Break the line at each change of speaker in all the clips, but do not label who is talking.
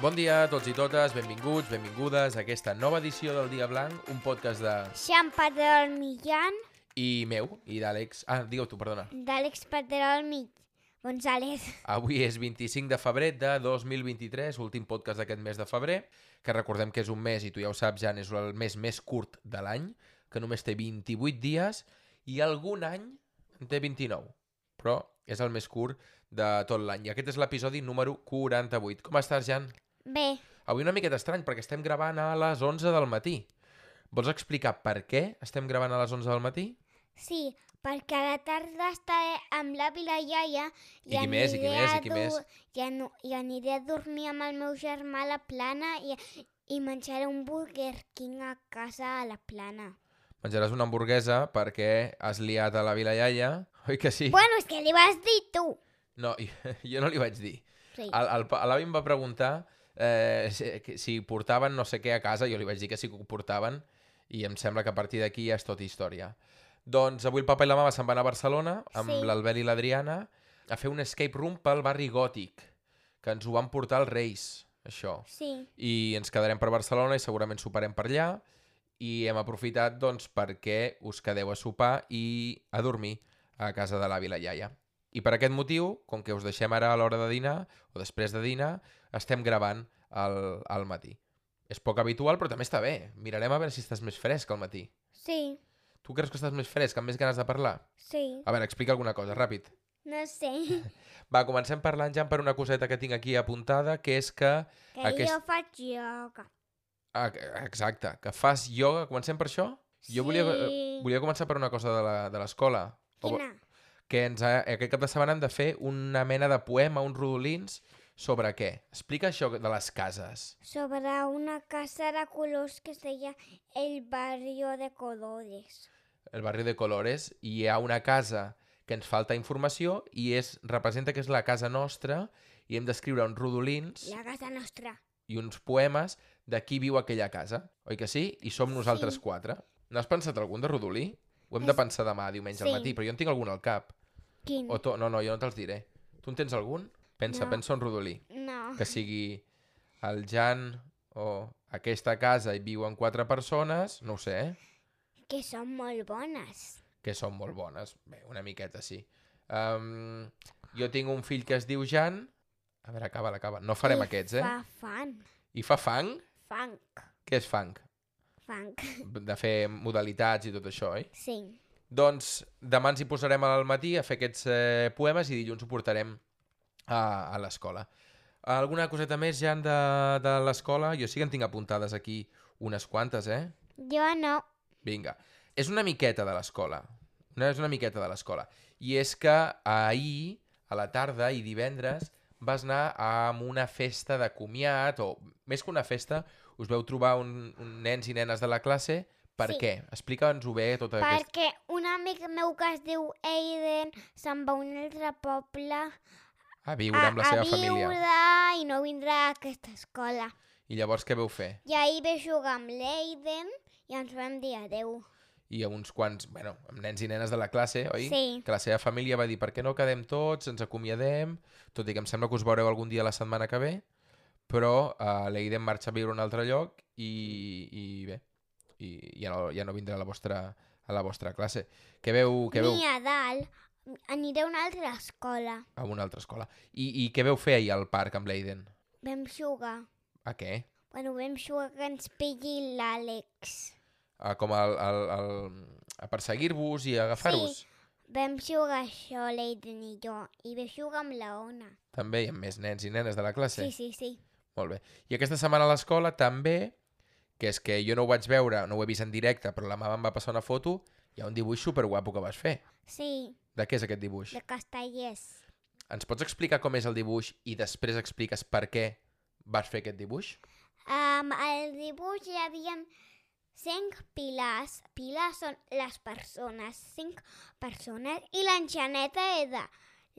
Bon dia a tots i totes, benvinguts, benvingudes a aquesta nova edició del Dia Blanc, un podcast de...
Xan Pedrol Millán,
i meu, i d'Àlex... Ah, digue-ho tu, perdona.
d'Àlex Pedrol Mig... González.
Avui és 25 de febrer de 2023, últim podcast d'aquest mes de febrer, que recordem que és un mes, i tu ja ho saps, Jan, és el mes més curt de l'any, que només té 28 dies, i algun any en té 29, però és el més curt de tot l'any. I aquest és l'episodi número 48. Com estàs, Jan?
Bé,
Avui una miqueta estrany, perquè estem gravant a les 11 del matí. Vols explicar per què estem gravant a les 11 del matí?
sí, perquè a la tarda estaré amb l'avi i la iaia
I qui més, i qui més, i qui més?
I, an i aniré a dormir amb el meu germà a la plana i, i menjaré un Burger King a casa a la plana.
Menjaràs una hamburguesa perquè has liat a la Vila Iaia, oi que sí?
Bueno, és que li vas dir tu.
No, i- jo no li vaig dir.
Sí.
El- el pa- L'avi em va preguntar eh, si- que- si portaven no sé què a casa, jo li vaig dir que sí que ho portaven, i em sembla que a partir d'aquí ja és tota història. Doncs avui el papa i la mama se'n van a Barcelona amb
Sí.
l'Albert i l'Adriana a fer un escape room pel barri gòtic, que ens ho van portar els Reis, això
Sí,
i ens quedarem per Barcelona i segurament soparem per allà i hem aprofitat doncs perquè us quedeu a sopar i a dormir a casa de l'avi i la iaia. I per aquest motiu, com que us deixem ara a l'hora de dinar o després de dinar, estem gravant al, al matí. És poc habitual, però també està bé. Mirarem a veure si estàs més fresc al matí.
sí,
Tu creus que estàs més fresc, amb més ganes de parlar?
sí.
A veure, explica alguna cosa, ràpid.
No sé,
Va, comencem parlant, Jan, per una coseta que tinc aquí apuntada, que és que...
que
Aquest-
jo faig ioga.
Ah, exacte, que fas ioga. Comencem per això? Jo volia, eh,
Sí.
volia començar per una cosa de la- de l'escola. O vo-
Quina?
Que ens ha, aquest cap de setmana hem de fer una mena de poema, uns rodolins, sobre què? Explica això de les cases.
sobre una casa de colors que es deia El Barrio de Colores.
El barri de Colores, hi ha una casa que ens falta informació i és, representa que és la casa nostra i hem d'escriure uns rodolins
La casa nostra.
i uns poemes de qui viu a aquella casa. Oi que sí? I som nosaltres
Sí.
quatre. N'has pensat algun de rodolí? Ho hem de
Es-
pensar demà, diumenge al
Sí.
matí, però jo en tinc algun al cap.
Quin?
O to... No, no, jo no te'ls diré. Tu en tens algun? Pensa,
No.
pensa un rodolí.
No.
Que sigui el Jan o aquesta casa hi viuen quatre persones, no ho sé, eh?
Que són molt bones.
que són molt bones. Bé, una miqueta sí. Um, jo tinc un fill que es diu Jan. A veure, acaba, acaba. No farem
I
aquests, eh?
Fa fan.
I fa fang?
Funk.
Què és fang?
Funk.
De fer modalitats i tot això, oi?
Sí.
Doncs demà ens hi posarem al matí a fer aquests eh, poemes i dilluns ho portarem a, a l'escola. Alguna coseta més, Jan, de, de l'escola? Jo sí que en tinc apuntades aquí unes quantes, eh?
Jo no.
Vinga. És una miqueta de l'escola. No és una miqueta de l'escola. I és que ahir, a la tarda i divendres, vas anar a una festa de comiat, o més que una festa, us veu trobar un, un nens i nenes de la classe. Per
Sí.
què? Explica'ns-ho bé, tota aquesta...
Perquè un amic meu que es diu Aiden se'n va a un altre poble
A viure
a,
amb la
a
seva
viure
família.
i no vindrà a aquesta escola.
I llavors què veu fer?
I ahir ve jugar amb l'Aiden i ens vam dir adeu.
I a uns quants, bueno, amb nens i nenes de la classe, oi?
Sí.
Que la seva família va dir, per què no quedem tots, ens acomiadem, tot i que em sembla que us veureu algun dia la setmana que ve, però uh, l'Eiden marxa a viure a un altre lloc i, i bé, i ja no, ja no vindrà a la vostra, a la vostra classe. Què veu, què veu
Ni a dalt. Aniré a una altra escola.
a una altra escola? I, I què veu fer ahir al parc amb l'Eiden?
Vam jugar.
A què?
Bueno, vam jugar que ens pilli l'Àlex.
A, com al, al, al, a perseguir-vos i a agafar-vos?
Vam jugar això, l'Aiden i jo. I vam jugar amb la Ona.
També hi ha més nens i nenes de la classe?
Sí, sí, sí.
Molt bé. I aquesta setmana a l'escola també, que és que jo no ho vaig veure, no ho he vist en directe, però la mama em va passar una foto, hi ha un dibuix superguapo que vas fer.
Sí,
De què és aquest dibuix?
de castellers.
Ens pots explicar com és el dibuix i després expliques per què vas fer aquest dibuix?
Um, al dibuix hi havia cinc pilars. Pilars són les persones, cinc persones. I l'enxaneta era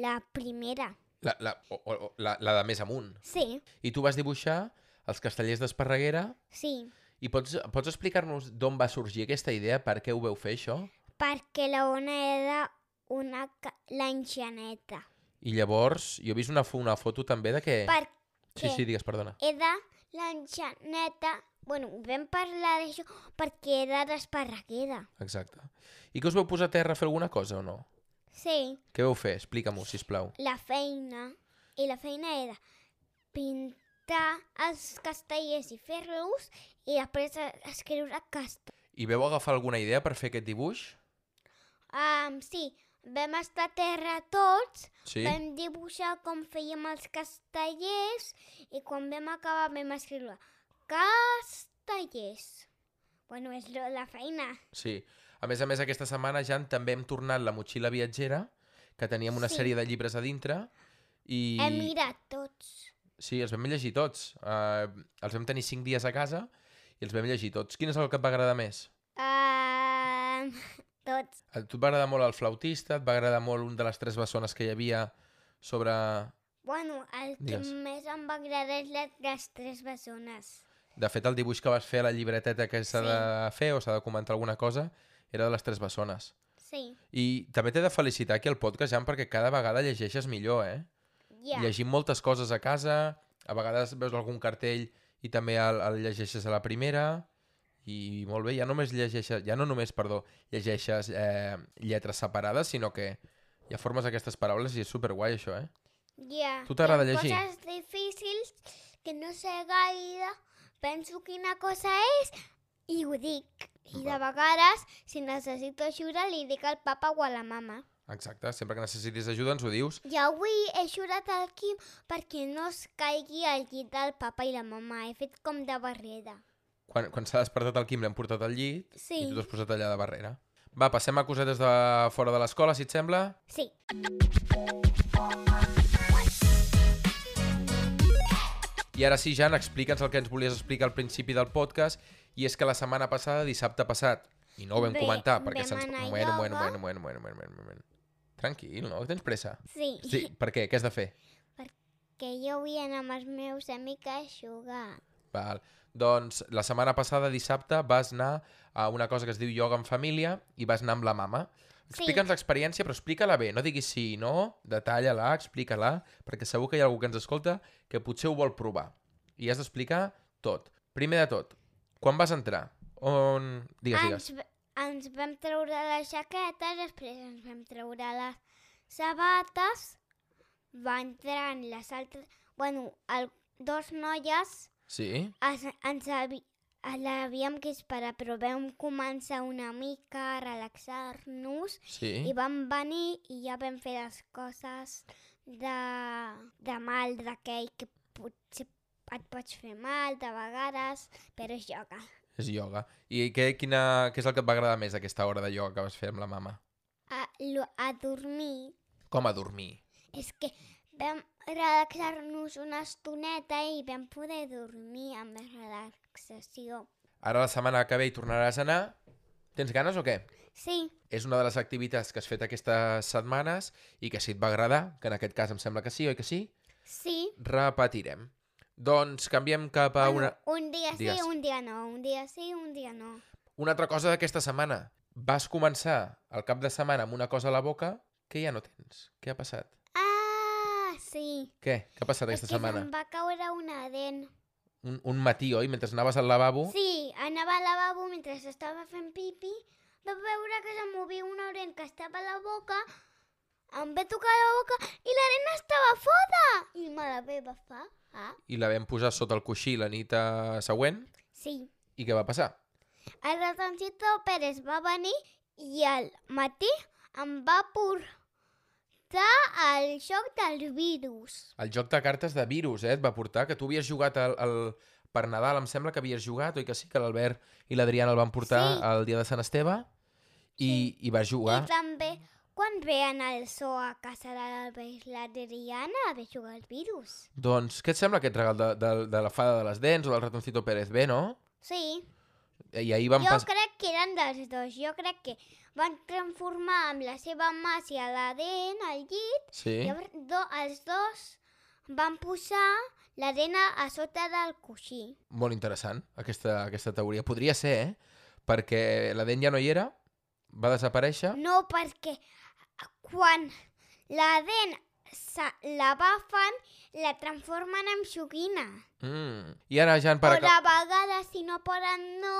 la primera.
La, la, o, o, o- la, la de més amunt.
Sí,
I tu vas dibuixar els castellers d'Esparreguera
sí.
i pots, pots explicar-nos d'on va sorgir aquesta idea, per què ho veu fer això?
Perquè la Ona era una ca- l'enxaneta.
I llavors, jo he vist una, fo- una foto també de que...
Per,
Sí,
Què?
sí, digues, perdona.
he de l'enxaneta... Bueno, vam parlar d'això perquè he de d'esparreguera.
Exacte. I que us vau posar a terra a fer alguna cosa o no?
Sí,
Què vau fer? Explica-m'ho, sisplau.
la feina. I la feina era pintar els castellers i fer-los i després eh, escriure casta.
I veu agafar alguna idea per fer aquest dibuix?
Um, sí, vam estar a terra tots,
Sí?
vam dibuixar com fèiem els castellers i quan vam acabar vam escriure castellers. Bueno, és lo- la feina.
Sí. A més a més, aquesta setmana, Jan, també hem tornat la motxilla viatgera, que teníem una
Sí.
sèrie de llibres a dintre, i...
I... Hem mirat tots.
Sí, els vam llegir tots. Uh, els vam tenir cinc dies a casa i els vam llegir tots. Quin és el que et va agradar més?
Um, tots.
A tu et va agradar molt el flautista, et va agradar molt un de les tres bessones que hi havia sobre...
Bueno, el que
Digues.
més em va agradar és les, les tres bessones.
De fet, el dibuix que vas fer a la llibreteta que s'ha
Sí.
de fer o s'ha de comentar alguna cosa era de les tres bessones.
Sí,
I també t'he de felicitar aquí al podcast, Jan, perquè cada vegada llegeixes millor, eh?
ja. Yeah.
Llegim moltes coses a casa, a vegades veus algun cartell i també el, el llegeixes a la primera, i molt bé, ja només llegeixes, ja no només, perdó, llegeixes eh, lletres separades, sinó que ja formes aquestes paraules i és superguai això, eh?
Ja.
Tu t'agrada
Hi ha
llegir?
coses difícils que no sé gaire, penso quina cosa és i ho dic. I de vegades, si necessito ajuda, li dic al papa o a la mama.
Exacte, sempre que necessitis ajuda ens ho dius.
I avui he ajudat al Quim perquè no es caigui al llit del papa i la mama. He fet com de barrera.
Quan, quan s'ha despertat el Quim l'hem portat al llit
Sí.
i tu t'has posat allà de barrera. Va, passem a cosetes de fora de l'escola, si et sembla.
Sí.
I ara sí, Jan, explica'ns el que ens volies explicar al principi del podcast, i és que la setmana passada, dissabte passat, i no ho vam
Bé,
comentar, perquè
vam
se'ns...
anar a
Bueno, bueno,
ioga.
bueno, bueno, bueno, bueno, bueno, bueno. Tranquil, no? Que tens pressa.
Sí.
Sí, per què? Què has de fer?
Que jo vull anar amb els meus amics a jugar.
Val. Doncs la setmana passada, dissabte, vas anar a una cosa que es diu ioga en família i vas anar amb la mama.
Sí.
Explica'ns l'experiència, però explica-la bé. No diguis sí i no, detalla-la, explica-la, perquè segur que hi ha algú que ens escolta que potser ho vol provar. I has d'explicar tot. Primer de tot, quan vas entrar? On... Digues, digues.
Ens, v- ens vam treure les jaquetes, després ens vam treure les sabates, va entrar en les altres... Bueno, el, dos noies
Sí?
es, ens havi, a- l'havíem que esperar, però vam començar una mica a relaxar-nos i
Sí?
vam venir i ja vam fer les coses de, de mal d'aquell que potser et pots fer mal de vegades, però és joga.
És ioga. I què, quina, què és el que et va agradar més aquesta hora de ioga que vas fer amb la mama?
A, lo- a dormir
Com a dormir.
És que vam relaxar-nos una estoneta i vam poder dormir amb relaxació.
Ara la setmana que ve hi tornaràs a anar. Tens ganes o què?
Sí,
És una de les activitats que has fet aquestes setmanes i que si et va agradar, que en aquest cas em sembla que sí, oi que sí?
sí.
Repetirem. Doncs canviem cap a una,
Bueno, un dia sí,
Digues.
un dia no, un dia sí, un dia no.
una altra cosa d'aquesta setmana. Vas començar el cap de setmana amb una cosa a la boca que ja no tens. Què ha passat?
Ah, sí.
Què? Què ha passat aquesta
és que
setmana?
em va caure una dent.
Un, un matí, oi? Mentre anaves al lavabo?
Sí, anava al lavabo mentre estava fent pipi, va veure que se'm movia una orent que estava a la boca, em va tocar la boca i la dent estava foda! I me la va agafar. Ah,
I la vam posar sota el coixí la nit eh, següent.
sí.
I què va passar?
El ratoncito Pérez va venir i al matí em va portar al xoc del virus.
El joc de cartes de virus, eh? Et va portar, que tu havies jugat al, al... per Nadal, em sembla que havies jugat, oi que sí? Que l'Albert i l'Adriana el van portar
Sí.
al dia de Sant Esteve i, i vas jugar.
I també quan veien el so a casa de l'Albert i l'Adriana a jugar al virus.
Doncs què et sembla aquest regal de, de, de la fada de les dents o del ratoncito Pérez? Bé, no?
Sí,
I ahir van
jo
passar...
crec que eren dels dos. Jo crec que van transformar amb la seva màgia la dent al llit.
Sí?
Llavors do, els dos van posar la dent a a sota del coixí.
Molt interessant, aquesta, aquesta teoria. Podria ser, eh? Perquè la dent ja no hi era, va desaparèixer...
No, perquè quan la dent se la bafen, la transformen en joguina.
Mm. I ara, Jan, per
Però
acabar...
de vegades, si no poden, no,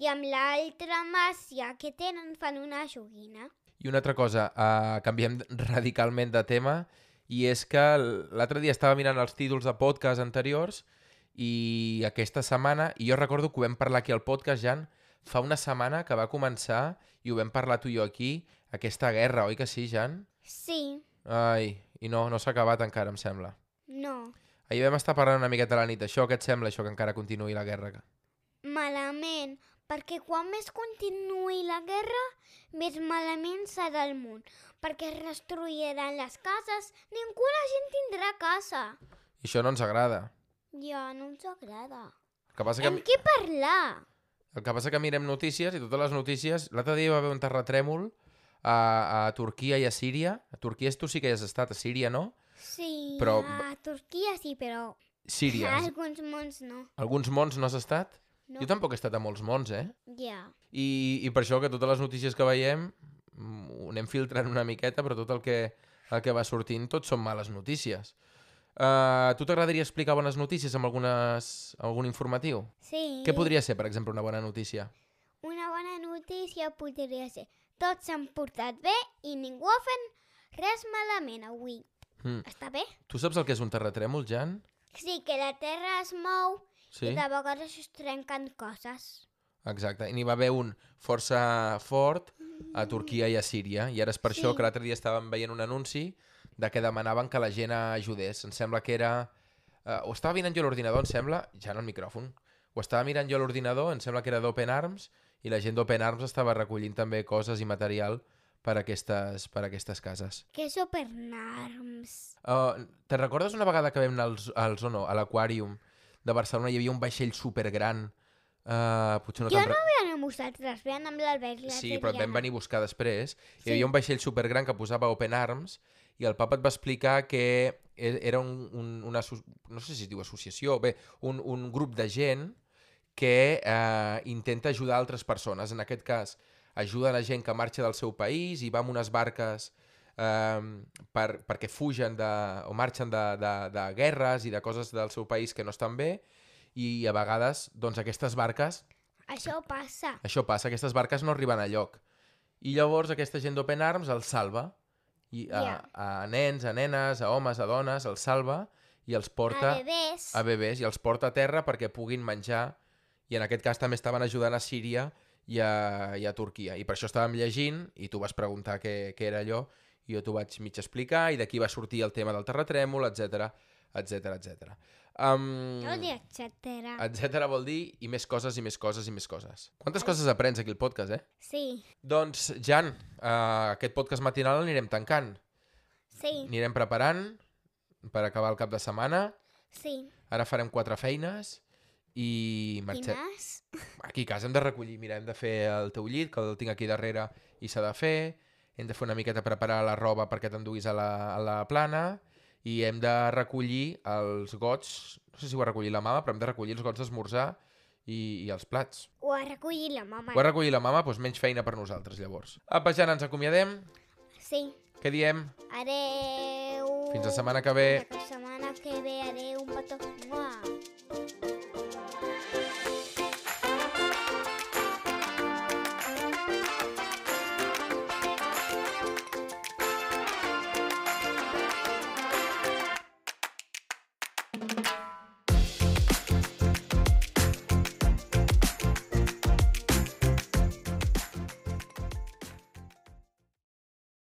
i amb l'altra màcia que tenen fan una joguina.
I una altra cosa, uh, canviem radicalment de tema, i és que l- l'altre dia estava mirant els títols de podcast anteriors i aquesta setmana, i jo recordo que ho vam parlar aquí al podcast, Jan, fa una setmana que va començar i ho vam parlar tu i jo aquí, aquesta guerra, oi que sí, Jan?
Sí,
Ai, i no, no s'ha acabat encara, em sembla.
no,
Ahir vam estar parlant una miqueta a la nit, això què et sembla, això que encara continuï la guerra?
malament, perquè quan més continuï la guerra, més malament serà el món, perquè es destruiran les cases, ningú la gent tindrà casa.
I això no ens agrada.
Ja, no ens agrada.
El que passa que...
Amb què parlar?
El que passa que mirem notícies i totes les notícies... L'altre dia hi va haver un terratrèmol a, a Turquia i a Síria. A Turquia tu sí que hi has estat, a Síria no?
Sí,
Però-
a Turquia sí, però
Síria.
a alguns mons no.
Alguns mons no has estat?
No.
Jo tampoc he estat a molts mons, eh?
Ja,
I, I per això que totes les notícies que veiem mm, ho anem filtrant una miqueta, però tot el que, el que va sortint tot són males notícies. Uh, tu t'agradaria explicar bones notícies amb algunes, algun informatiu?
sí.
Què podria ser, per exemple, una bona notícia?
Una bona notícia podria ser tots s'han portat bé i ningú ha fet res malament avui.
Mm.
Està bé?
Tu saps el que és un terratrèmol, Jan?
Sí, que la terra es mou
Sí?
i de vegades es trenquen coses.
Exacte, i n'hi va haver un força fort a Turquia i a Síria, i ara és per sí. això
Sí.
que l'altre dia estàvem veient un anunci de que demanaven que la gent ajudés. Em sembla que era... Eh, ho estava mirant jo a l'ordinador, em sembla, ja no el micròfon, ho estava mirant jo a l'ordinador, em sembla que era d'Open Arms, i la gent d'Open Arms estava recollint també coses i material per a aquestes, per a aquestes cases.
Que supernarms.
Uh, Te'n recordes una vegada que vam anar als, als o no, a l'Aquàrium de Barcelona, hi havia un vaixell supergran, uh, potser no
Jo
te'n re-
Vean amb vosaltres, vean amb l'Albert i la
Sí, però et vam
Tatiana.
venir a buscar després. Sí.
Sí.
Hi havia un vaixell supergran que posava Open Arms i el papa et va explicar que e- era un, un, una... asso- No sé si es diu associació, bé, un, un grup de gent que eh, intenta ajudar altres persones. En aquest cas, ajuda la gent que marxa del seu país i va amb unes barques eh, per, perquè fugen de, o marxen de, de, de guerres i de coses del seu país que no estan bé i a vegades doncs, aquestes barques
Això passa.
això passa, aquestes barques no arriben a lloc. I llavors aquesta gent d'Open Arms els salva. I a,
Ja.
a nens, a nenes, a homes, a dones, els salva i els porta
A bebès.
a bebès i els porta a terra perquè puguin menjar. I en aquest cas també estaven ajudant a Síria i a, i a Turquia. I per això estàvem llegint i tu vas preguntar què, què era allò i jo t'ho vaig mig explicar i d'aquí va sortir el tema del terratrèmol, etc etc etc. Um,
Jo dic, etcètera.
etcètera vol dir i més coses i més coses i més coses. Quantes coses aprens aquí al podcast, eh?
Sí,
Doncs, Jan, eh, aquest podcast matinal l'anirem tancant.
sí,
Anirem preparant per acabar el cap de setmana.
sí.
Ara farem quatre feines i marxem.
Quines?
Aquí a casa hem de recollir, mira, hem de fer el teu llit, que el tinc aquí darrere i s'ha de fer, hem de fer una miqueta preparar la roba perquè t'enduguis a, la, a la plana i hem de recollir els gots, no sé si ho ha recollit la mama, però hem de recollir els gots d'esmorzar i, i els plats.
Ho ha recollit la mama.
Ho ha recollit la mama, doncs menys feina per nosaltres, llavors. Apa, Jan, ens acomiadem.
Sí.
Què diem?
Adeu.
Fins la setmana que ve.
Fins la setmana que ve. Adeu, un petó. Mua.